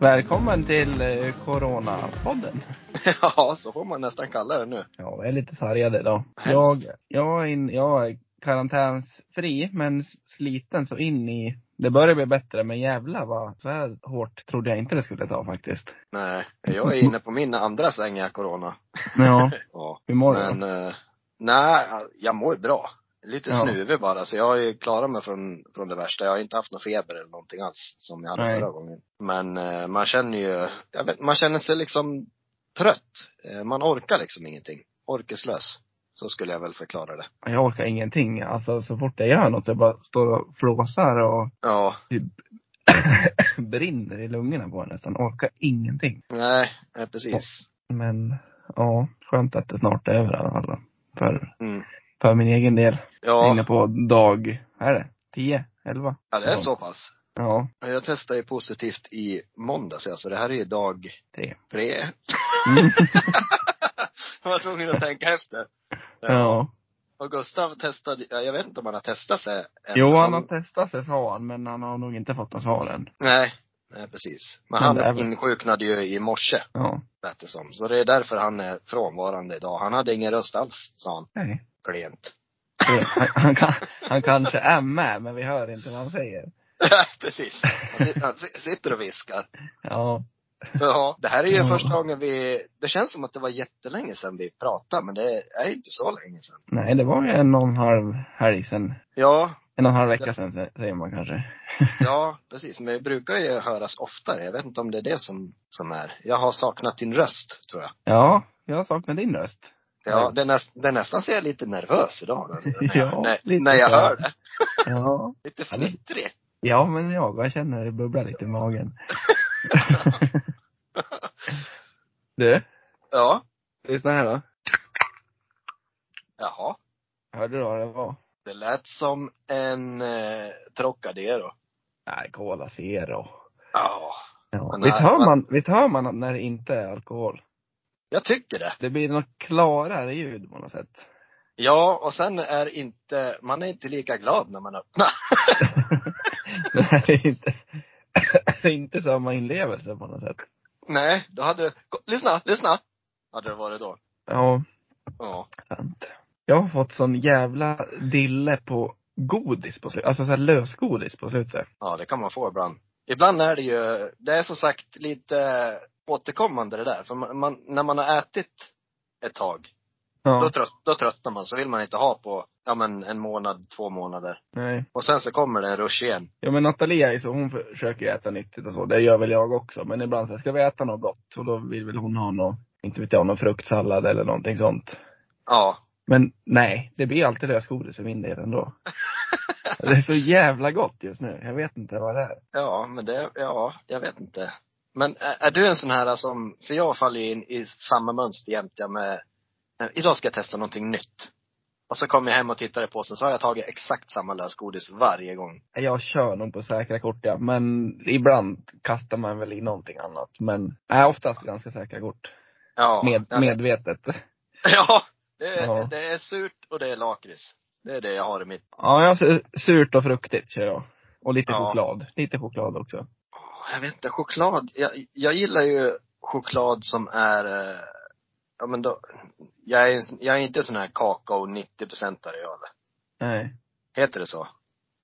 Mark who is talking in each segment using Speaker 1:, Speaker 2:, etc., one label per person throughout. Speaker 1: Välkommen till eh, Corona-podden.
Speaker 2: Ja, så får man nästan kalla det nu.
Speaker 1: Ja, jag är lite sargad idag. Jag,
Speaker 2: Hemskt.
Speaker 1: jag, är in, jag är karantänsfri, men s- sliten så in i... Det börjar bli bättre, men jävlar vad så här hårt trodde jag inte det skulle ta faktiskt.
Speaker 2: Nej, jag är inne på min andra sänga corona.
Speaker 1: Men ja,
Speaker 2: Ja,
Speaker 1: hur mår du då?
Speaker 2: men eh, nej, jag mår ju bra. Lite
Speaker 1: Ja.
Speaker 2: snuvig bara, så jag har ju klarat mig från, från det värsta. Jag har inte haft någon feber eller någonting alls som jag hade
Speaker 1: Nej.
Speaker 2: förra gången. Men eh, man känner ju, jag vet, man känner sig liksom trött. Eh, man orkar liksom ingenting. Orkeslös. Så skulle jag väl förklara det.
Speaker 1: Jag orkar ingenting. Alltså så fort jag gör något, jag bara står och flåsar och
Speaker 2: Ja,
Speaker 1: brinner i lungorna på en nästan. Orkar ingenting.
Speaker 2: nej, eh, precis.
Speaker 1: Men ja, skönt att det snart är över i alla fall då. För,
Speaker 2: Mm.
Speaker 1: för min egen del. Jag är
Speaker 2: Ja,
Speaker 1: inne på dag, vad är det? 10? 11?
Speaker 2: ja, det är så pass.
Speaker 1: Ja,
Speaker 2: Ja, Jag testade ju positivt i måndags, alltså det här är ju dag
Speaker 1: tre.
Speaker 2: tre.
Speaker 1: Mm.
Speaker 2: Jag var tvungen att tänka efter.
Speaker 1: ja.
Speaker 2: Och Gustav testade, ja, jag vet inte om han har testat sig än.
Speaker 1: Jo, han har testat sig sa han, men han har nog inte fått något svar än.
Speaker 2: Nej, nej precis. Men
Speaker 1: Men det är
Speaker 2: han
Speaker 1: väl-
Speaker 2: insjuknade ju i morse,
Speaker 1: Ja.
Speaker 2: lät det som. Så det är därför han är frånvarande idag. Han hade ingen röst alls, sa han.
Speaker 1: Nej.
Speaker 2: Klent.
Speaker 1: Han, han, kan, han kanske är med, men vi hör inte vad han säger.
Speaker 2: precis. Han, sit- han si- sitter och viskar.
Speaker 1: Ja.
Speaker 2: Ja, det här är ju
Speaker 1: Ja.
Speaker 2: första gången vi, det känns som att det var jättelänge sedan vi pratade, men det är inte så länge sedan.
Speaker 1: Nej, det var ju en och en halv helg sen.
Speaker 2: Ja,
Speaker 1: En och en halv vecka sen sä- säger man kanske.
Speaker 2: Ja, precis. Men vi brukar ju höras oftare. Jag vet inte om det är det som, som är. Jag har saknat din röst, tror jag.
Speaker 1: Ja, jag saknar din röst.
Speaker 2: Ja,
Speaker 1: Ja.
Speaker 2: det, näst, det nästan ser jag lite nervös idag. När, när
Speaker 1: Ja,
Speaker 2: jag, när,
Speaker 1: lite
Speaker 2: när jag
Speaker 1: så.
Speaker 2: hör det.
Speaker 1: Ja.
Speaker 2: Lite
Speaker 1: Ja, det-
Speaker 2: fnittrig.
Speaker 1: Ja, men jag, jag känner det bubblar lite i magen. du,
Speaker 2: Ja.
Speaker 1: lyssna här då.
Speaker 2: Jaha.
Speaker 1: Hörde du vad det var?
Speaker 2: Det lät som en eh, Trocadero.
Speaker 1: Nej, Cola Zero.
Speaker 2: Ja.
Speaker 1: Ja.
Speaker 2: Men
Speaker 1: Visst,
Speaker 2: nej,
Speaker 1: hör
Speaker 2: men-
Speaker 1: man, visst hör man att när det inte är alkohol?
Speaker 2: Jag tycker det.
Speaker 1: Det blir något klarare ljud på något sätt.
Speaker 2: Ja, och sen är inte, man är inte lika glad när man öppnar.
Speaker 1: Nej, det är inte, det är inte samma inlevelse på något sätt.
Speaker 2: Nej, då hade det, Ko- lyssna, lyssna! Hade det varit då.
Speaker 1: Ja,
Speaker 2: Ja.
Speaker 1: sant. Jag har fått sån jävla dille på godis på slutet. Alltså så här lösgodis på slutet.
Speaker 2: Ja, det kan man få ibland. Ibland är det ju, det är som sagt lite återkommande det där. För man, man, när man har ätit ett tag, då,
Speaker 1: Ja.
Speaker 2: trött, då tröttnar man. Så vill man inte ha på, ja men en månad, två månader.
Speaker 1: Nej.
Speaker 2: Och sen så kommer det en rush igen.
Speaker 1: Ja men Natalia är ju så, hon försöker ju äta nyttigt och så. Det gör väl jag också. Men ibland så här, ska vi äta något gott? Och då vill väl hon ha någon, inte vet jag, någon fruktsallad eller någonting sånt.
Speaker 2: Ja.
Speaker 1: Men nej, det blir alltid lösgodis för min del ändå. Det är så jävla gott just nu. Jag vet inte vad det är.
Speaker 2: Ja, men det, ja, jag vet inte. Men är, är du en sån här som, för jag faller ju in i samma mönster jämt jag med, eh, idag ska jag testa någonting nytt. Och så kommer jag hem och tittar i påsen, så har jag tagit exakt samma lösgodis varje gång.
Speaker 1: Jag kör nog på säkra kort ja, men ibland kastar man väl i någonting annat. Men, nej oftast ganska säkra kort.
Speaker 2: Ja.
Speaker 1: Med,
Speaker 2: jag-
Speaker 1: medvetet.
Speaker 2: Ja, det,
Speaker 1: Ja.
Speaker 2: det är surt och det är lakrits. Det är det jag har i mitt.
Speaker 1: Ja, jag ser surt och fruktigt kör jag. Och lite
Speaker 2: Ja.
Speaker 1: choklad. Lite choklad också.
Speaker 2: Åh, Jag vet inte, choklad. Jag, jag gillar ju choklad som är, eh, ja men då, jag är, ju en sån- jag är inte sån här kakao 90-procentare jag eller?
Speaker 1: Nej.
Speaker 2: Heter det så?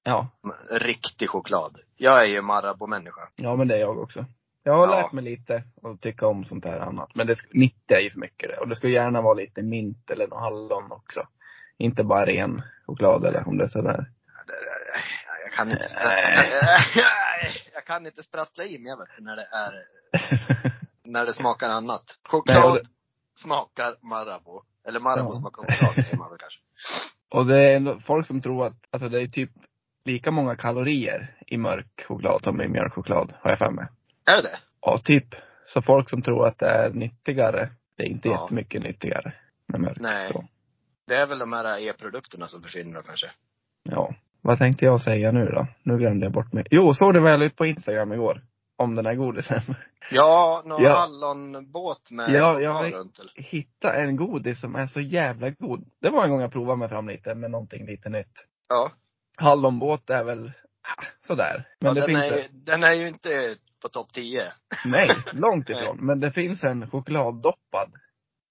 Speaker 1: Ja.
Speaker 2: Men Riktig choklad. Jag är ju Marabou-människa.
Speaker 1: Ja, men det är jag också. Jag har
Speaker 2: Ja.
Speaker 1: lärt mig lite att tycka om sånt här annat. Men det, sk- 90 är ju för mycket det. Och det ska gärna vara lite mint eller något hallon också. Inte bara ren choklad eller om det är sådär.
Speaker 2: Eh, Jag kan inte
Speaker 1: Nej.
Speaker 2: sprattla, jag kan inte sprattla i mig jag vet, när det är, när det smakar annat. Choklad
Speaker 1: Nej, och
Speaker 2: smakar Marabou. Eller Marabou
Speaker 1: Ja.
Speaker 2: smakar choklad säger man väl kanske.
Speaker 1: och det är ändå folk som tror att, alltså det är typ lika många kalorier i mörk choklad som i mjölk choklad, har jag för mig.
Speaker 2: Är det det?
Speaker 1: Ja, typ. Så folk som tror att det är nyttigare, det är inte
Speaker 2: Ja.
Speaker 1: jättemycket nyttigare med mörk.
Speaker 2: Nej.
Speaker 1: Så,
Speaker 2: Det är väl de här e-produkterna som försvinner då kanske.
Speaker 1: ja. Vad tänkte jag säga nu då? Nu glömde jag bort mig. Jo, såg du vad jag la ut på Instagram igår? Om den här godisen.
Speaker 2: Ja, någon
Speaker 1: Ja.
Speaker 2: hallonbåt med
Speaker 1: Ja, ja,
Speaker 2: choklad
Speaker 1: vi-
Speaker 2: runt eller?
Speaker 1: hitta en godis som är så jävla god. Det var en gång jag provade mig fram lite med någonting lite nytt.
Speaker 2: Ja.
Speaker 1: Hallonbåt är väl ah, sådär. Men
Speaker 2: ja
Speaker 1: det
Speaker 2: den,
Speaker 1: finns
Speaker 2: är,
Speaker 1: det.
Speaker 2: den är ju inte på topp 10.
Speaker 1: Nej, långt ifrån. Men det finns en chokladdoppad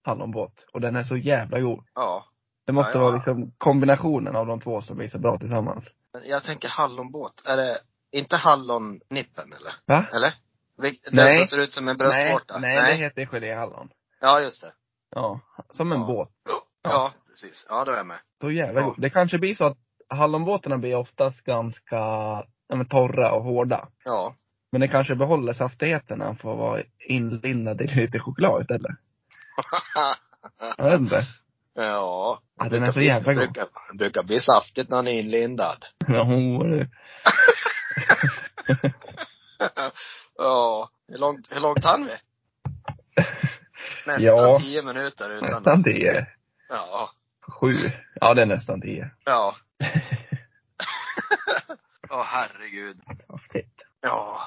Speaker 1: hallonbåt och den är så jävla god.
Speaker 2: Ja.
Speaker 1: Det måste
Speaker 2: Ja, ja.
Speaker 1: vara liksom kombinationen av de två som blir så bra tillsammans.
Speaker 2: Men jag tänker hallonbåt. Är det inte hallonnippen eller?
Speaker 1: Va?
Speaker 2: Eller? Vil- Den
Speaker 1: Nej.
Speaker 2: som ser ut som en bröstvårta?
Speaker 1: nej, nej, det heter geléhallon.
Speaker 2: Ja, just det.
Speaker 1: Ja, som en
Speaker 2: Ja.
Speaker 1: båt.
Speaker 2: Ja,
Speaker 1: Ja.
Speaker 2: precis. Ja, då är jag med.
Speaker 1: Så jävla
Speaker 2: Ja.
Speaker 1: god. Det kanske blir så att hallonbåtarna blir oftast ganska, ja men torra och hårda.
Speaker 2: Ja.
Speaker 1: Men det kanske behåller saftigheten när den får vara inlindad i lite choklad istället. Jag vet inte.
Speaker 2: ja.
Speaker 1: Ja, den är
Speaker 2: brukar
Speaker 1: så
Speaker 2: bli-
Speaker 1: jävla god.
Speaker 2: brukar, brukar bli saftigt när den är inlindad.
Speaker 1: Ja, hon-
Speaker 2: ja. Hur långt, hur långt hann vi? Nästan
Speaker 1: Ja.
Speaker 2: tio minuter utan...
Speaker 1: Nästan tio.
Speaker 2: Ja.
Speaker 1: Sju. Ja, det är nästan tio.
Speaker 2: Ja. Åh herregud.
Speaker 1: Saftigt.
Speaker 2: Ja.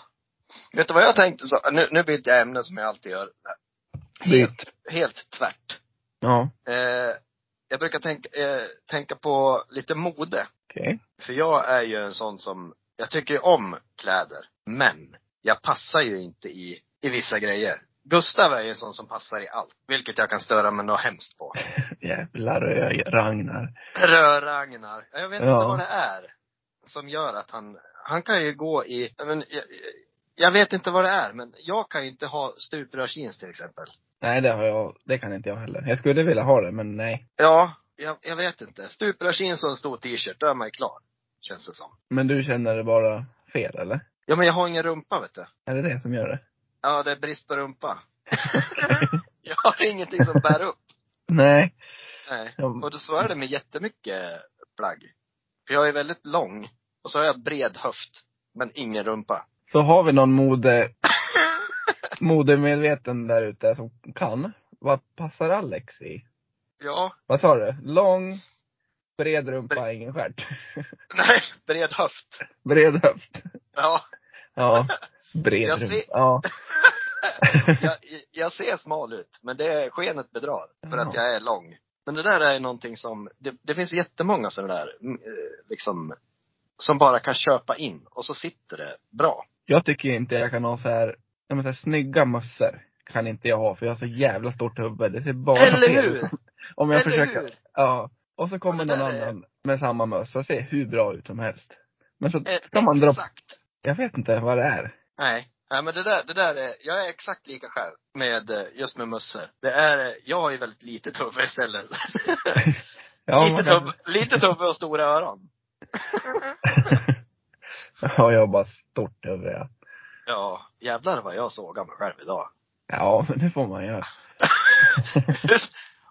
Speaker 2: Vet du vad jag tänkte så? Nu, nu byter jag ämne som jag alltid gör.
Speaker 1: Byt.
Speaker 2: Helt tvärt.
Speaker 1: Ja,
Speaker 2: Eh, jag brukar tänka, eh, tänka på lite mode.
Speaker 1: okej.
Speaker 2: För jag är ju en sån som, jag tycker ju om kläder. Men jag passar ju inte i, i vissa grejer. Gustav är ju en sån som passar i allt. Vilket jag kan störa mig något hemskt på.
Speaker 1: Jävlar rö- Ragnar.
Speaker 2: Rör-Ragnar. Jag vet
Speaker 1: Ja.
Speaker 2: inte vad det är som gör att han, han kan ju gå i, jag men, jag, jag vet inte vad det är, men jag kan ju inte ha stuprörsjeans till exempel.
Speaker 1: Nej, det har jag, det kan inte jag heller. Jag skulle vilja ha det, men nej.
Speaker 2: Ja, jag, jag vet inte. Stuprörsjeans och en stor t-shirt, då är man ju klar. Känns det som.
Speaker 1: Men du känner det bara fel, eller?
Speaker 2: Ja men jag har ingen rumpa vet du.
Speaker 1: Är det det som gör det?
Speaker 2: Ja, det är brist på rumpa. jag har ingenting som bär upp.
Speaker 1: Nej.
Speaker 2: Nej.
Speaker 1: Jag,
Speaker 2: Och då så är det med jättemycket plagg. För jag är väldigt lång. Och så har jag bred höft. Men ingen rumpa.
Speaker 1: så har vi någon mode, modemedveten där ute som kan. Vad passar Alex i?
Speaker 2: Ja,
Speaker 1: Vad sa du? Lång, bred rumpa, ingen stjärt.
Speaker 2: Nej, bred höft.
Speaker 1: Bred höft.
Speaker 2: Ja.
Speaker 1: Ja. Bred
Speaker 2: Jag
Speaker 1: rumpa.
Speaker 2: ser-
Speaker 1: Ja.
Speaker 2: Jag, jag ser smal ut, men det är skenet bedrar. För att
Speaker 1: Ja.
Speaker 2: jag är lång. Men det där är någonting som, det, det finns jättemånga sådana där, mm, eh, liksom, som bara kan köpa in och så sitter det bra.
Speaker 1: Jag tycker ju inte jag kan ha så här, ja men så här snygga mössor. Kan inte jag ha, för jag har så jävla stort huvud. Det ser bara
Speaker 2: Eller
Speaker 1: fel
Speaker 2: hur?
Speaker 1: ut. Om jag
Speaker 2: Eller
Speaker 1: försöker.
Speaker 2: hur?
Speaker 1: Ja. Och så kommer
Speaker 2: Ja, det
Speaker 1: någon
Speaker 2: där är-
Speaker 1: annan med samma mössa, ser hur bra ut som helst. Men så
Speaker 2: Eh,
Speaker 1: ska man dra,
Speaker 2: Exakt.
Speaker 1: jag vet inte vad det är.
Speaker 2: Nej. Nej men det där, det där är, jag är exakt lika själv med, eh, just med mössor. Det är, eh, jag har ju väldigt litet huvud istället.
Speaker 1: Ja, man
Speaker 2: litet,
Speaker 1: kan-
Speaker 2: huvud, litet huvud och stora öron.
Speaker 1: ja, jag har bara stort huvud ja.
Speaker 2: Ja, jävlar vad jag sågar mig själv idag.
Speaker 1: Ja, men det får man göra.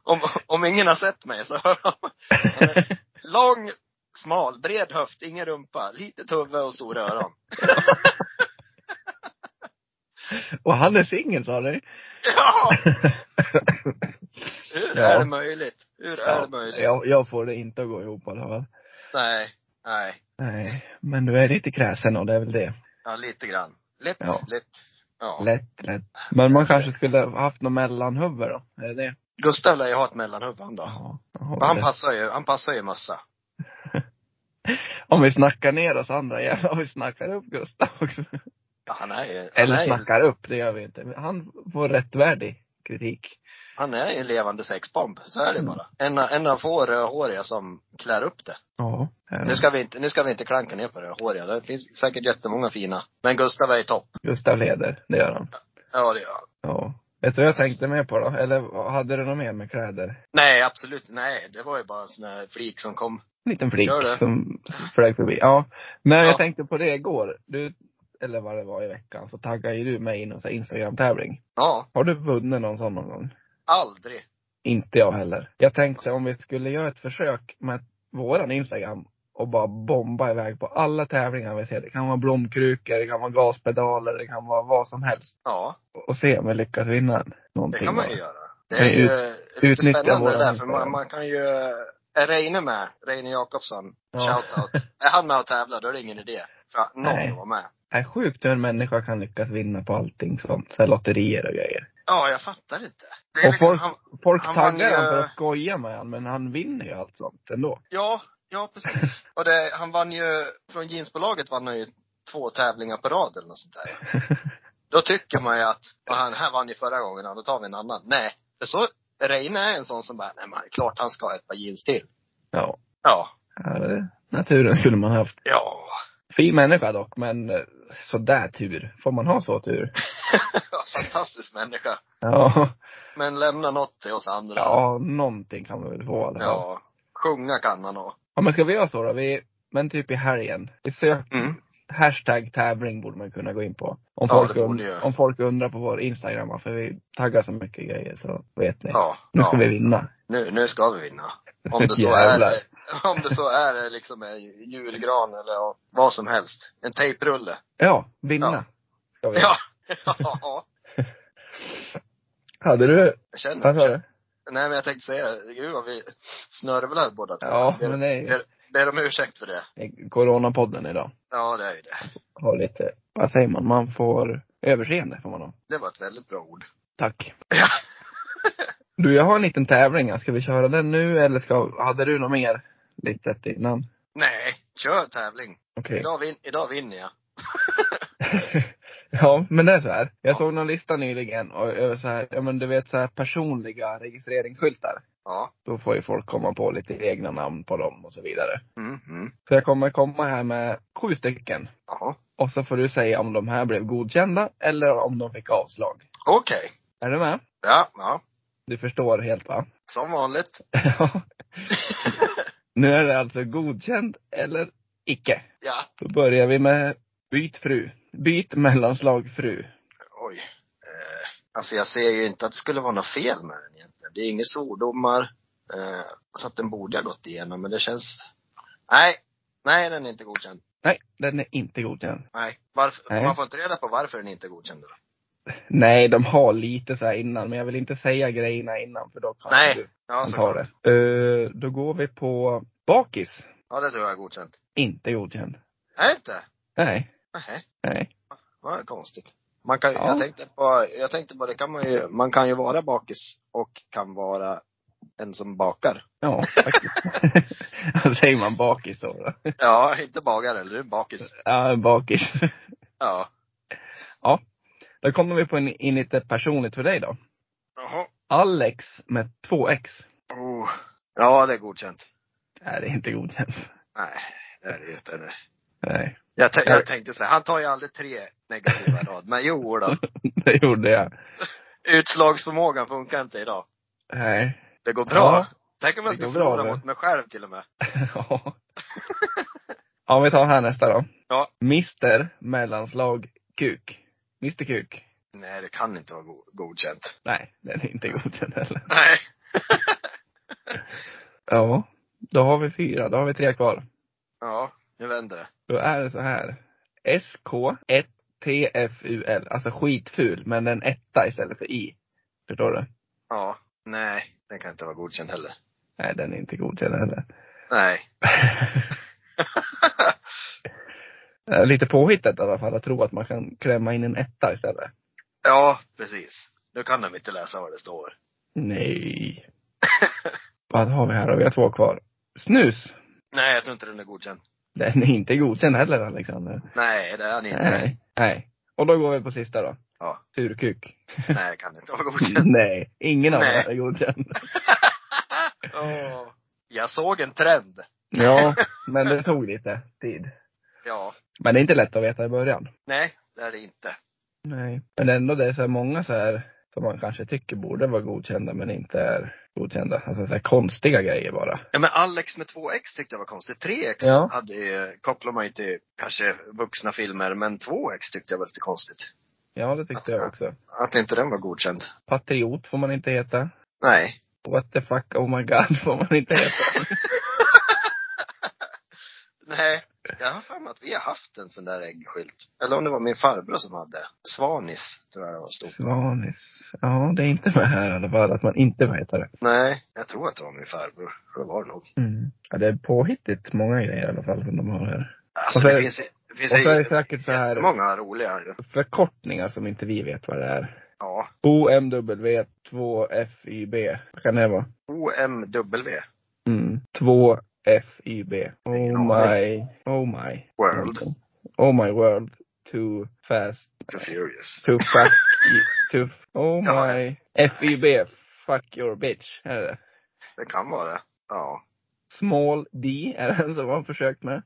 Speaker 2: om, om ingen har sett mig så hör de. Han är Lång, smal, bred höft, ingen rumpa, litet huvud och stora öron.
Speaker 1: Och han är singel sa du?
Speaker 2: Ja! Hur
Speaker 1: Ja.
Speaker 2: är det möjligt? Hur är
Speaker 1: Ja,
Speaker 2: det möjligt?
Speaker 1: Jag, jag får det inte att gå ihop i alla fall.
Speaker 2: Nej, nej.
Speaker 1: Nej, men du är lite kräsen och det är väl det.
Speaker 2: Ja, lite grann. Lätt,
Speaker 1: Ja.
Speaker 2: lätt. Ja.
Speaker 1: Lätt, lätt. Men man kanske skulle ha haft något mellanhuvud då? Är det det?
Speaker 2: Gustav lär ju ha ett mellanhuvud han då.
Speaker 1: jag håller
Speaker 2: Men han
Speaker 1: det.
Speaker 2: passar ju, han passar ju mössa.
Speaker 1: Om vi snackar ner oss andra jävlar, om vi snackar upp Gustav också.
Speaker 2: Ja, han är ju, han är
Speaker 1: Eller
Speaker 2: ju,
Speaker 1: snackar upp, det gör vi inte. Men han får rättfärdig kritik.
Speaker 2: han är ju en levande sexbomb. Så är det
Speaker 1: Mm.
Speaker 2: bara. En, av- en av få rödhåriga som klär upp det.
Speaker 1: Ja.
Speaker 2: Nu ska vi inte, nu ska vi inte klanka ner på det håriga. Det finns säkert jättemånga fina. Men Gustav är i topp.
Speaker 1: Gustav leder, det gör han.
Speaker 2: Ja, det gör han.
Speaker 1: Ja. Vet du vad jag tänkte med på då? Eller hade du något mer med kläder?
Speaker 2: Nej, absolut. Nej, det var ju bara en sån här flik som kom.
Speaker 1: En liten flik
Speaker 2: Gör det.
Speaker 1: som flög förbi. Ja. Nej, jag
Speaker 2: Ja.
Speaker 1: tänkte på det igår. Du, eller vad det var i veckan, så taggade ju du mig i någon sån här Instagram-tävling.
Speaker 2: Ja,
Speaker 1: Har du vunnit någon sån någon gång?
Speaker 2: aldrig.
Speaker 1: Inte jag heller. Jag tänkte om vi skulle göra ett försök med våran Instagram och bara bomba iväg på alla tävlingar vi ser. Det kan vara blomkrukor, det kan vara gaspedaler, det kan vara vad som helst.
Speaker 2: Ja,
Speaker 1: Och se om vi lyckas vinna
Speaker 2: det
Speaker 1: någonting.
Speaker 2: kan man
Speaker 1: av
Speaker 2: ju
Speaker 1: det.
Speaker 2: göra. Det
Speaker 1: Men
Speaker 2: är ju
Speaker 1: ut-
Speaker 2: lite
Speaker 1: utnyttja
Speaker 2: spännande
Speaker 1: våran
Speaker 2: det där, för
Speaker 1: Instagram.
Speaker 2: man, man kan ju, är Reine med? Reine Jakobsson,
Speaker 1: Ja.
Speaker 2: shoutout. Är han med och tävlar, då är det ingen idé. För
Speaker 1: Nej.
Speaker 2: någon var med.
Speaker 1: Det är sjukt hur en människa kan lyckas vinna på allting sånt. Så här lotterier och grejer.
Speaker 2: Ja, jag fattar inte. Det är
Speaker 1: Och
Speaker 2: liksom,
Speaker 1: folk-
Speaker 2: han,
Speaker 1: Folk
Speaker 2: Han vann
Speaker 1: taggar
Speaker 2: ju-
Speaker 1: han för att skoja med han, men han vinner ju allt sånt ändå.
Speaker 2: ja, ja precis. Och det, han vann ju, från jeansbolaget vann han ju två tävlingar på rad eller något sånt där. Då tycker man ju att, "Ja, han här vann ju förra gången, ja, då tar vi en annan. Nej. För så, Reine är en sån som bara, nej men klart han ska ha ett par jeans till.
Speaker 1: Ja.
Speaker 2: Ja.
Speaker 1: ja det, naturen skulle man haft.
Speaker 2: Ja.
Speaker 1: Fin människa dock, men eh, sådär tur. Får man ha så tur?
Speaker 2: Fantastisk människa.
Speaker 1: Ja.
Speaker 2: Men lämna något till oss andra.
Speaker 1: Ja, någonting kan man väl få i alla fall. Ja.
Speaker 2: ja. Sjunga kan han och.
Speaker 1: men ska vi göra så då? Vi, men typ i helgen. Vi söker
Speaker 2: Mm.
Speaker 1: Hashtag tävling borde man kunna gå in på. Om,
Speaker 2: Ja,
Speaker 1: folk,
Speaker 2: det borde
Speaker 1: und-
Speaker 2: jag.
Speaker 1: om folk undrar på vår Instagram, varför vi taggar så mycket grejer så vet ni.
Speaker 2: Ja.
Speaker 1: Nu ska
Speaker 2: ja.
Speaker 1: vi vinna.
Speaker 2: Nu, nu ska vi vinna. Om det så
Speaker 1: Jävlar.
Speaker 2: är, om det så är liksom en julgran eller vad som helst. En tejprulle.
Speaker 1: Ja, vinna. Ska
Speaker 2: Ja.
Speaker 1: vi.
Speaker 2: Ja. ja.
Speaker 1: Hade du,
Speaker 2: Jag känner
Speaker 1: vad sa du?
Speaker 2: Nej men jag tänkte säga, gud vad vi snörvlar båda två.
Speaker 1: Ja,
Speaker 2: ber,
Speaker 1: men nej.
Speaker 2: ber, ber om ursäkt för det.
Speaker 1: Coronapodden idag.
Speaker 2: Ja, det är ju det.
Speaker 1: Har lite, vad säger man, man får överseende får man ha.
Speaker 2: Det var ett väldigt bra ord.
Speaker 1: Tack.
Speaker 2: Ja.
Speaker 1: Du, jag har en liten tävling här. Ska vi köra den nu eller ska, hade du något mer? Litet innan?
Speaker 2: Nej, kör tävling.
Speaker 1: Okej.
Speaker 2: Idag, vin, idag vinner jag.
Speaker 1: ja, men det är så här. Jag såg någon lista nyligen och över så här, ja men du vet så här personliga registreringsskyltar.
Speaker 2: Ja.
Speaker 1: Då får ju folk komma på lite egna namn på dem och så vidare.
Speaker 2: Mm, mm.
Speaker 1: Så jag kommer komma här med sju stycken.
Speaker 2: Jaha.
Speaker 1: Och så får du säga om de här blev godkända eller om de fick avslag.
Speaker 2: Okej.
Speaker 1: Är du med?
Speaker 2: Ja, ja.
Speaker 1: Du förstår helt va?
Speaker 2: Som vanligt.
Speaker 1: Ja. nu är det alltså godkänd eller icke.
Speaker 2: ja.
Speaker 1: Då börjar vi med byt fru. Byt mellanslag fru.
Speaker 2: Oj. Eh, alltså jag ser ju inte att det skulle vara något fel med den egentligen. Det är inga svordomar. Eh, så att den borde ha gått igenom, men det känns... Nej. Nej, den är inte godkänd.
Speaker 1: Nej, den är inte godkänd.
Speaker 2: Nej. Varför,
Speaker 1: Nej.
Speaker 2: Man får inte reda på varför den inte är godkänd då.
Speaker 1: Nej, de har lite så här innan, men jag vill inte säga grejerna innan för då kan
Speaker 2: Nej,
Speaker 1: du
Speaker 2: Ja,
Speaker 1: kan ta
Speaker 2: såklart.
Speaker 1: det. Eh, då går vi på bakis.
Speaker 2: Ja, det tror jag är godkänt.
Speaker 1: Inte godkänd.
Speaker 2: Nej, inte?
Speaker 1: Nej,
Speaker 2: Nej,
Speaker 1: nej.
Speaker 2: vad konstigt. Man kan, ju-
Speaker 1: Ja.
Speaker 2: jag, tänkte på, jag tänkte på, det kan man ju, man kan ju vara bakis och kan vara en som bakar.
Speaker 1: Ja, faktiskt. Vad säger man bakis då? då?
Speaker 2: Ja, inte bagare, eller du är bakis.
Speaker 1: Ja, bakis.
Speaker 2: Ja.
Speaker 1: Då kommer vi på in, in lite personligt för dig då.
Speaker 2: Jaha.
Speaker 1: Alex med två x.
Speaker 2: Oh. Ja, det är godkänt.
Speaker 1: Nej, det är inte godkänt.
Speaker 2: Nej, det är det ju inte. nej.
Speaker 1: Nej,
Speaker 2: Jag, tän- jag tänkte så här, han tar ju aldrig tre negativa rad, men jo då.
Speaker 1: det gjorde jag.
Speaker 2: Utslagsförmågan funkar inte idag.
Speaker 1: Nej.
Speaker 2: Det går bra.
Speaker 1: Ja.
Speaker 2: Tänk om
Speaker 1: Det
Speaker 2: jag skulle
Speaker 1: går bra,
Speaker 2: förlora
Speaker 1: det.
Speaker 2: mot mig själv till och med.
Speaker 1: Ja. ja, vi tar här nästa då.
Speaker 2: Ja.
Speaker 1: Mister mellanslag kuk. Mister kuk.
Speaker 2: Nej, det kan inte vara go- godkänt.
Speaker 1: Nej, den är inte godkänd heller.
Speaker 2: Nej.
Speaker 1: Ja, då har vi fyra. Då har vi tre kvar.
Speaker 2: Ja, nu vänder det.
Speaker 1: Då är det så här. SK1TFUL. Alltså skitful, men en etta istället för i. Förstår du?
Speaker 2: Ja. Nej, den kan inte vara godkänd heller.
Speaker 1: Nej, den är inte godkänd heller.
Speaker 2: Nej.
Speaker 1: Eh, Lite påhittat i alla fall att tro att man kan klämma in en etta istället.
Speaker 2: ja, precis. Nu kan de inte läsa vad det står.
Speaker 1: Nej. Vad har vi här då? Vi har två kvar. Snus.
Speaker 2: Nej, jag tror inte den är godkänd.
Speaker 1: Den är inte godkänd heller, Alexander.
Speaker 2: Nej, det är den inte. Nej,
Speaker 1: Nej. Nej. Och då går vi på sista då.
Speaker 2: Ja.
Speaker 1: Surkuk.
Speaker 2: det kan inte vara godkänd.
Speaker 1: Nej. Ingen av dem
Speaker 2: Nej.
Speaker 1: är godkänd.
Speaker 2: Åh. Jag såg en trend.
Speaker 1: Ja, men det tog lite tid.
Speaker 2: Ja.
Speaker 1: Men det är inte lätt att veta i början.
Speaker 2: Nej, det är det inte.
Speaker 1: Nej. Men ändå, det är så här många så här som man kanske tycker borde vara godkända men inte är godkända. Alltså så här konstiga grejer bara.
Speaker 2: Ja, men Alex med 2x tyckte jag var konstigt. 3x
Speaker 1: Ja.
Speaker 2: hade ju, kopplar man ju till kanske vuxna filmer, men 2x tyckte jag var lite konstigt.
Speaker 1: Ja, det tyckte jag också.
Speaker 2: Att inte den var godkänd.
Speaker 1: Patriot får man inte heta.
Speaker 2: Nej.
Speaker 1: What the fuck, oh my god får man inte heta.
Speaker 2: Nej, jag har för mig att vi har haft en sån där äggskylt. Eller om det var min farbror som hade. Svanis, tror jag det var stort.
Speaker 1: Svanis. Ja, det är inte med här i alla fall, att man inte får heta det.
Speaker 2: Nej, jag tror att det var min farbror. Det var det nog.
Speaker 1: Mm. Ja, det är påhittigt många grejer i alla fall som de har här.
Speaker 2: Alltså
Speaker 1: Och så är-
Speaker 2: det finns det
Speaker 1: Och
Speaker 2: finns
Speaker 1: så är det
Speaker 2: ju
Speaker 1: säkert så här
Speaker 2: många roliga ju.
Speaker 1: förkortningar som inte vi vet vad det är.
Speaker 2: Ja.
Speaker 1: OMW2FYB. Vad kan det vara?
Speaker 2: OMW
Speaker 1: Mm. 2FYB. Oh
Speaker 2: Ingen
Speaker 1: my,
Speaker 2: aning.
Speaker 1: oh my.
Speaker 2: World.
Speaker 1: Oh my world. too fast,
Speaker 2: Too furious.
Speaker 1: too fuck, too, oh my. FIB, fuck your bitch, är det.
Speaker 2: Det kan vara det. Ja.
Speaker 1: Small D är den som han försökt med.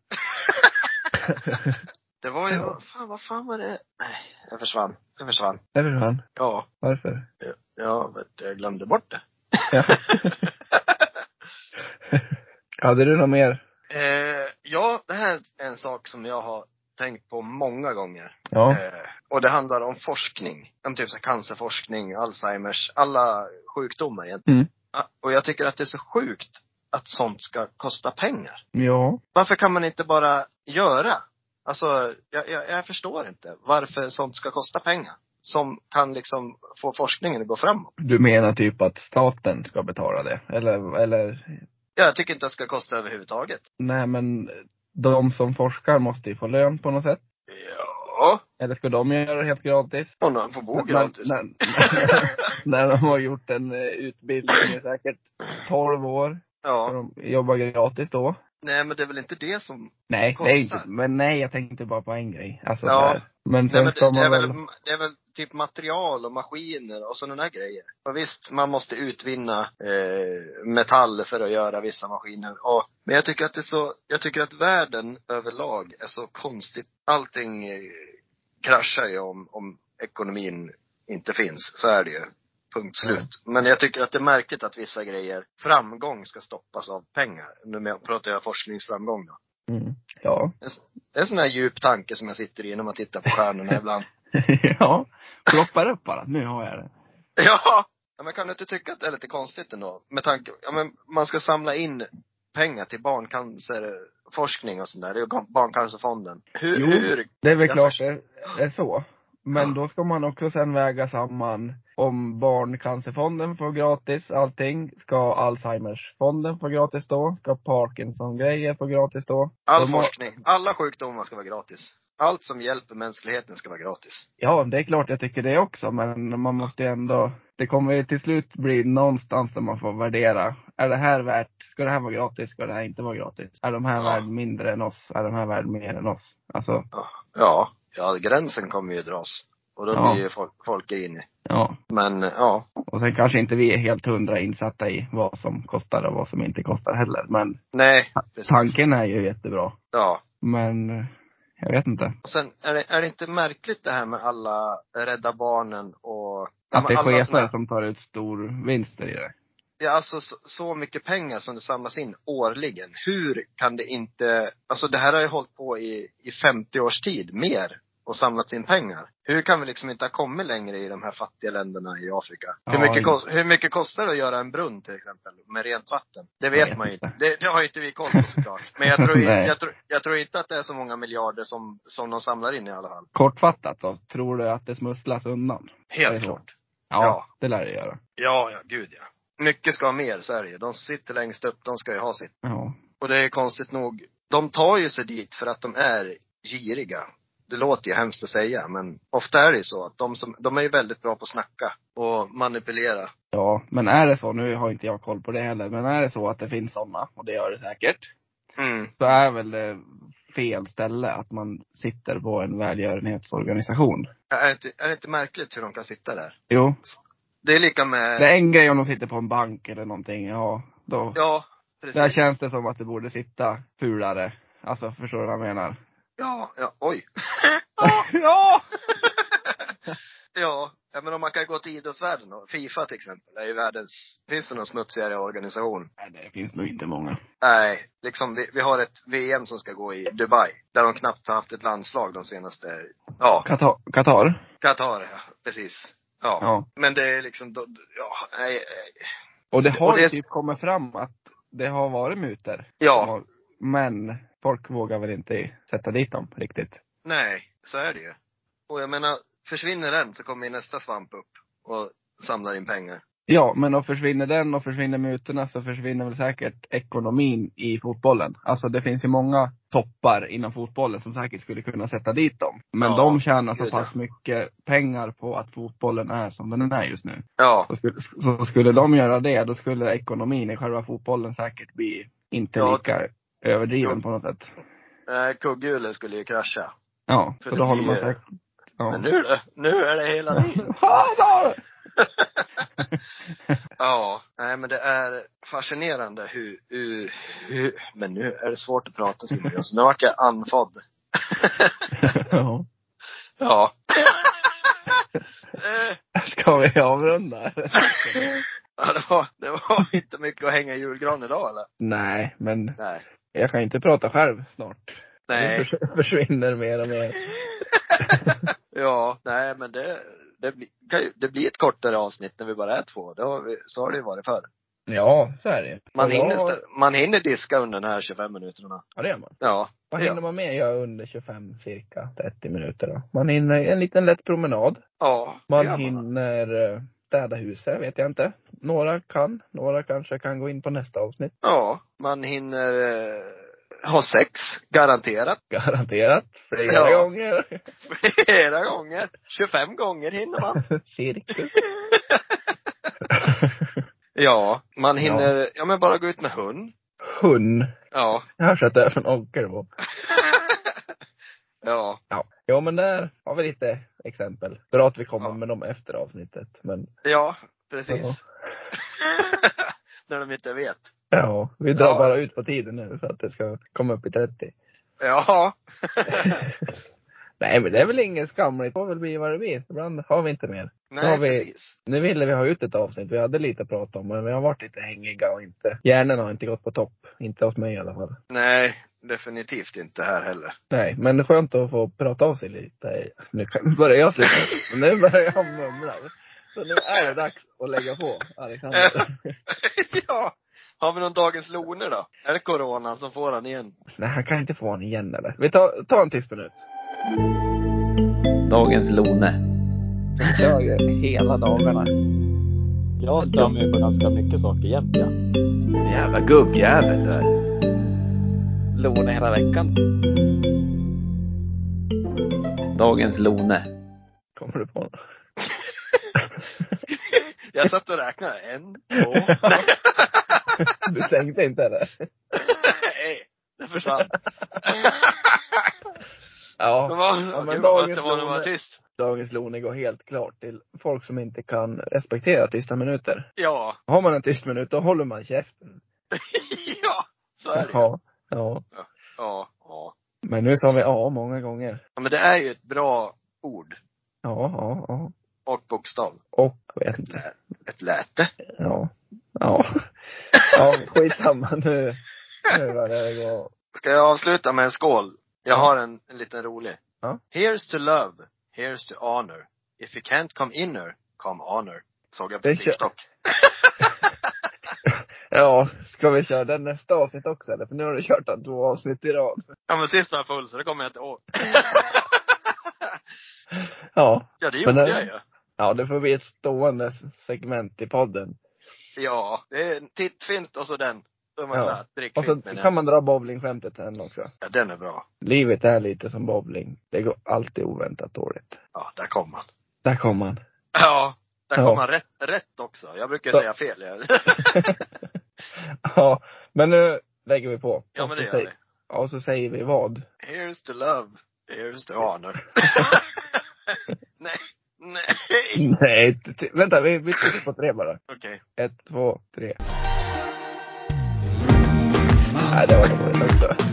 Speaker 2: Det var ju,
Speaker 1: Ja.
Speaker 2: vad fan, vad fan var det? Nej, jag försvann. Jag försvann.
Speaker 1: Där försvann han.
Speaker 2: Ja.
Speaker 1: Varför?
Speaker 2: Ja, vet du, jag glömde bort det.
Speaker 1: Ja. Hade du något mer?
Speaker 2: Eh, ja, det här är en sak som jag har tänkt på många gånger.
Speaker 1: Ja.
Speaker 2: Eh, och det handlar om forskning. Om typ så här cancerforskning, Alzheimers, alla sjukdomar egentligen.
Speaker 1: Mm.
Speaker 2: Ah, Och jag tycker att det är så sjukt att sånt ska kosta pengar.
Speaker 1: Ja.
Speaker 2: Varför kan man inte bara göra? Alltså, jag, jag, jag förstår inte varför sånt ska kosta pengar. Som kan liksom få forskningen att gå framåt.
Speaker 1: Du menar typ att staten ska betala det? Eller, eller?
Speaker 2: Jag tycker inte att det ska kosta överhuvudtaget.
Speaker 1: Nej men, de som forskar måste ju få lön på något sätt.
Speaker 2: Ja.
Speaker 1: Eller ska de göra det helt gratis?
Speaker 2: Och någon får bo
Speaker 1: Men-
Speaker 2: Oh, gratis.
Speaker 1: När, när, när de har gjort en eh, utbildning i säkert 12 år, och
Speaker 2: Ja.
Speaker 1: de jobbar gratis då.
Speaker 2: Nej men det är väl inte det som
Speaker 1: Nej, det
Speaker 2: Kostar.
Speaker 1: är inte, men nej jag tänkte bara på en grej. Alltså,
Speaker 2: Ja.
Speaker 1: sådär. Men
Speaker 2: Nej,
Speaker 1: sen
Speaker 2: men
Speaker 1: ska
Speaker 2: det, det, är
Speaker 1: man
Speaker 2: väl,
Speaker 1: väl,
Speaker 2: det är väl typ material och maskiner och sådana där grejer. Och visst, man måste utvinna eh, metall för att göra vissa maskiner. Och, men jag tycker att det är så, jag tycker att världen överlag är så konstigt. Allting eh, kraschar ju om, om ekonomin inte finns. Så är det ju. Punkt slut.
Speaker 1: Mm.
Speaker 2: Men jag tycker att det är märkligt att vissa grejer, framgång ska stoppas av pengar. Nu men- pratar jag forskningsframgång då.
Speaker 1: mm, ja.
Speaker 2: Det är en sån här djup tanke som jag sitter i när man tittar på stjärnorna ibland.
Speaker 1: ja. Ploppar upp bara, nu har jag det.
Speaker 2: Ja! ja men kan du inte tycka att det är lite konstigt ändå? Med tanke, ja men man ska samla in pengar till barncancerforskning och sånt där. Det är ju Barncancerfonden. Hur,
Speaker 1: Jo.
Speaker 2: hur?
Speaker 1: Det är väl
Speaker 2: Jag
Speaker 1: klart det det är så. Men
Speaker 2: Ja.
Speaker 1: då ska man också sen väga samman om Barncancerfonden får gratis allting, ska Alzheimersfonden få gratis då? Ska Parkinson-grejer få gratis då?
Speaker 2: All
Speaker 1: De har-
Speaker 2: forskning, alla sjukdomar ska vara gratis. Allt som hjälper mänskligheten ska vara gratis.
Speaker 1: Ja, det är klart jag tycker det också, men man måste ju ändå, det kommer ju till slut bli någonstans där man får värdera. Är det här värt, ska det här vara gratis, ska det här inte vara gratis? Är de här
Speaker 2: Ja.
Speaker 1: värd mindre än oss? Är de här värd mer än oss? Alltså,
Speaker 2: Ja, ja gränsen kommer ju dras. Och då
Speaker 1: Ja.
Speaker 2: blir ju folk, folk grinig.
Speaker 1: ja.
Speaker 2: Men ja,
Speaker 1: Och sen kanske inte vi är helt hundra insatta i vad som kostar och vad som inte kostar heller. Men
Speaker 2: nej. Precis.
Speaker 1: tanken är ju jättebra.
Speaker 2: Ja.
Speaker 1: Men eh, jag vet inte.
Speaker 2: Och sen, är det, är det inte märkligt det här med alla Rädda Barnen och Ja,
Speaker 1: Att
Speaker 2: men
Speaker 1: det är
Speaker 2: alla såna
Speaker 1: chefer
Speaker 2: här-
Speaker 1: som tar ut stor vinster i det.
Speaker 2: Det är alltså så, så mycket pengar som det samlas in årligen. Hur kan det inte, alltså det här har ju hållit på i, i 50 års tid, mer, och samlat in pengar. Hur kan vi liksom inte ha kommit längre i de här fattiga länderna i Afrika?
Speaker 1: Ja,
Speaker 2: hur, mycket
Speaker 1: ja.
Speaker 2: kost, hur mycket kostar det att göra en brunn till exempel, med rent vatten? Det vet
Speaker 1: vet
Speaker 2: man ju
Speaker 1: inte.
Speaker 2: inte. Det, det har ju inte vi koll på såklart. Men jag tror, ju-
Speaker 1: Nej.
Speaker 2: jag, tror, jag tror inte att det är så många miljarder som, som de samlar in i alla fall.
Speaker 1: Kortfattat då, tror du att det smusslas undan?
Speaker 2: Helt
Speaker 1: Det är så.
Speaker 2: klart.
Speaker 1: Ja,
Speaker 2: Ja.
Speaker 1: det lär det göra.
Speaker 2: Ja, ja, gud ja. Mycket ska ha mer, så är det ju. De sitter längst upp, de ska ju ha sitt.
Speaker 1: Ja.
Speaker 2: Och det är konstigt nog, de tar ju sig dit för att de är giriga. Det låter ju hemskt att säga, men ofta är det ju så att de, som, de är ju väldigt bra på att snacka och manipulera.
Speaker 1: Ja, men är det så, nu har inte jag koll på det heller, men är det så att det finns sådana, och det gör det säkert,
Speaker 2: Mm.
Speaker 1: så är väl det fel ställe att man sitter på en välgörenhetsorganisation.
Speaker 2: Är, det inte, är det inte märkligt hur de kan sitta där?
Speaker 1: Jo,
Speaker 2: Det är lika med...
Speaker 1: det är en grej om de sitter på en bank eller någonting, ja, då,
Speaker 2: Ja, precis.
Speaker 1: där känns det som att det borde sitta fulare. Alltså, förstår du vad jag menar?
Speaker 2: Ja, ja, oj.
Speaker 1: ja!
Speaker 2: Ja, ja, men om man kan gå till idrottsvärlden då. Fifa till exempel är ju världens, finns det någon smutsigare organisation?
Speaker 1: Nej, det finns nog inte många.
Speaker 2: Nej, liksom vi, vi har ett VM som ska gå i Dubai. Där de knappt har haft ett landslag de senaste, ja,
Speaker 1: Qatar? Qatar?
Speaker 2: Qatar, ja. Precis. Ja.
Speaker 1: Ja.
Speaker 2: Men det är liksom, då, ja, nej, nej.
Speaker 1: Och det har
Speaker 2: Och det
Speaker 1: ju
Speaker 2: är-
Speaker 1: typ kommit fram att det har varit mutor.
Speaker 2: ja,
Speaker 1: Men folk vågar väl inte sätta dit dem riktigt.
Speaker 2: nej, så är det ju. Och jag menar, försvinner den så kommer ju nästa svamp upp och samlar in pengar.
Speaker 1: Ja, men då försvinner den och försvinner mutorna så försvinner väl säkert ekonomin i fotbollen. Alltså det finns ju många toppar inom fotbollen som säkert skulle kunna sätta dit dem. Men
Speaker 2: Ja,
Speaker 1: de tjänar så
Speaker 2: gud,
Speaker 1: pass mycket pengar på att fotbollen är som den är just nu.
Speaker 2: Ja,
Speaker 1: Så skulle, så skulle de göra det, då skulle ekonomin i själva fotbollen säkert bli inte
Speaker 2: Ja,
Speaker 1: lika överdriven
Speaker 2: ja.
Speaker 1: på något sätt.
Speaker 2: nej, kugghjulet skulle ju krascha.
Speaker 1: Ja,
Speaker 2: För
Speaker 1: så
Speaker 2: det
Speaker 1: då håller
Speaker 2: blir
Speaker 1: man
Speaker 2: ju-
Speaker 1: sig... Ja.
Speaker 2: Men nu då? Nu är det hela tiden.
Speaker 1: Fan, sa du?
Speaker 2: Ja, nej men det är fascinerande hur, hur, hur men nu är det svårt att prata Simon Jönsson. Nu vart jag andfådd.
Speaker 1: ja.
Speaker 2: Ja. Eh,
Speaker 1: Ska vi avrunda?
Speaker 2: ja, det var, det var inte mycket att hänga i julgran idag eller?
Speaker 1: Nej, men
Speaker 2: Nej.
Speaker 1: jag kan inte prata själv snart. Det
Speaker 2: Nej.
Speaker 1: förs- försvinner mer och mer.
Speaker 2: Ja, nej men det, det, blir- kan ju- det blir ett kortare avsnitt när vi bara är två. Det har vi, så har det ju varit förr.
Speaker 1: Ja, så är det
Speaker 2: Man,
Speaker 1: Och jag-
Speaker 2: hinner, stä- man hinner diska under de här 25 minuterna.
Speaker 1: Ja, det gör man.
Speaker 2: Ja.
Speaker 1: Vad
Speaker 2: Ja.
Speaker 1: hinner man med göra under 25, cirka 30 minuter då? Man hinner en liten lätt promenad.
Speaker 2: Ja. det
Speaker 1: Man
Speaker 2: gör
Speaker 1: hinner eh, städa huset, vet jag inte. Några kan, några kanske kan gå in på nästa avsnitt.
Speaker 2: Ja, man hinner eh, ha sex, garanterat.
Speaker 1: Garanterat. Flera
Speaker 2: Ja.
Speaker 1: gånger.
Speaker 2: Flera gånger. 25 gånger hinner man.
Speaker 1: Cirkus.
Speaker 2: Ja, man hinner, ja, men bara gå ut med hund.
Speaker 1: Hund.
Speaker 2: Ja.
Speaker 1: Jag hörs att det är från Ockelbo.
Speaker 2: ja,
Speaker 1: Ja. Jo men där har vi lite exempel. Bra att vi kommer
Speaker 2: Ja.
Speaker 1: med dem efter avsnittet. Men
Speaker 2: ja, precis.
Speaker 1: Ja.
Speaker 2: När de inte vet.
Speaker 1: ja, vi drar
Speaker 2: Ja.
Speaker 1: bara ut på tiden nu för att det ska komma upp i 30.
Speaker 2: Ja.
Speaker 1: Nej men det är väl inget skamligt. Det får väl bli vad det blir. Ibland har vi inte mer.
Speaker 2: Nej,
Speaker 1: har vi-
Speaker 2: precis.
Speaker 1: Nu ville vi ha ut ett avsnitt. Vi hade lite att prata om men vi har varit lite hängiga och inte. Hjärnan har inte gått på topp. Inte hos mig i alla fall.
Speaker 2: Nej, definitivt inte här heller.
Speaker 1: Nej, men det är skönt att få prata av sig lite. Nu kan- börjar jag sluta. Men nu börjar jag mumla. Så nu är det dags att lägga på, Alexander.
Speaker 2: ja. Har vi någon Dagens Loner då? Är det coronan som får han igen?
Speaker 1: Nej, han kan inte få honom igen eller? Vi tar, tar en tyst minut.
Speaker 3: Dagens Lone.
Speaker 1: Vi kör ju hela dagarna.
Speaker 4: Jag stör mig på ganska mycket saker jämt ja.
Speaker 3: Jävla gubbjävel du är.
Speaker 4: Låna hela veckan.
Speaker 3: Dagens Lone.
Speaker 1: Kommer du på något?
Speaker 2: Jag satt och räknade. En, två,
Speaker 1: Du tänkte inte eller?
Speaker 2: Nej, det försvann. Det
Speaker 1: Ja.
Speaker 2: var,
Speaker 1: men
Speaker 2: gud, vad
Speaker 1: dagens
Speaker 2: skönt det var när man var
Speaker 1: nummer-
Speaker 2: tyst.
Speaker 1: Dagens Lone går helt klart till folk som inte kan respektera tysta minuter.
Speaker 2: Ja.
Speaker 1: Har man en tyst minut, då håller man käften.
Speaker 2: ja, så är det ju.
Speaker 1: Ja. Ja.
Speaker 2: ja, ja.
Speaker 1: Men nu sa vi ja många gånger.
Speaker 2: Ja, men det är ju ett bra ord
Speaker 1: Ja, ja, ja.
Speaker 2: och bokstav.
Speaker 1: Och, jag vet inte.
Speaker 2: Lä- Ett läte.
Speaker 1: Ja. Ja. Ja, skitsamma nu. Nu börjar det gå.
Speaker 2: Ska jag avsluta med en skål? Jag har en, en liten rolig.
Speaker 1: Ja.
Speaker 2: Here's to love, here's to honor. If you can't come inner, come honor. Såg jag på
Speaker 1: Det kö-
Speaker 2: TikTok.
Speaker 1: Ja, ska vi köra den nästa avsnitt också eller? För nu har du kört den två avsnitt i rad.
Speaker 2: Ja men sist var jag full så det kommer jag inte ihåg.
Speaker 1: Ja.
Speaker 2: Ja det
Speaker 1: Men eh,
Speaker 2: gjorde
Speaker 1: det-
Speaker 2: jag ju.
Speaker 1: Ja, det får bli ett stående segment i podden.
Speaker 2: Ja, det är en tittfint och så den. Då är man
Speaker 1: Ja.
Speaker 2: klar. Drickfint
Speaker 1: Och så
Speaker 2: menar jag.
Speaker 1: kan man dra bowlingskämtet sen också.
Speaker 2: Ja, den är bra.
Speaker 1: Livet är lite som bowling. Det går alltid oväntat dåligt.
Speaker 2: Ja, där kom man.
Speaker 1: Där kom man.
Speaker 2: Ja, där
Speaker 1: Ja.
Speaker 2: kom man rätt, rätt också. Jag brukar
Speaker 1: Så-
Speaker 2: säga fel. Jag.
Speaker 1: Ja, men nu lägger vi på.
Speaker 2: Ja,
Speaker 1: Och
Speaker 2: men
Speaker 1: så
Speaker 2: det gör
Speaker 1: säg-
Speaker 2: vi.
Speaker 1: Ja, och så säger vi vad.
Speaker 2: Here's to love, here's to honor. nej, nej.
Speaker 1: Nej, t- t- vänta, vi, vi trycker på tre bara.
Speaker 2: Okej.
Speaker 1: Ett, två, tre. Nej, det var dåligt också.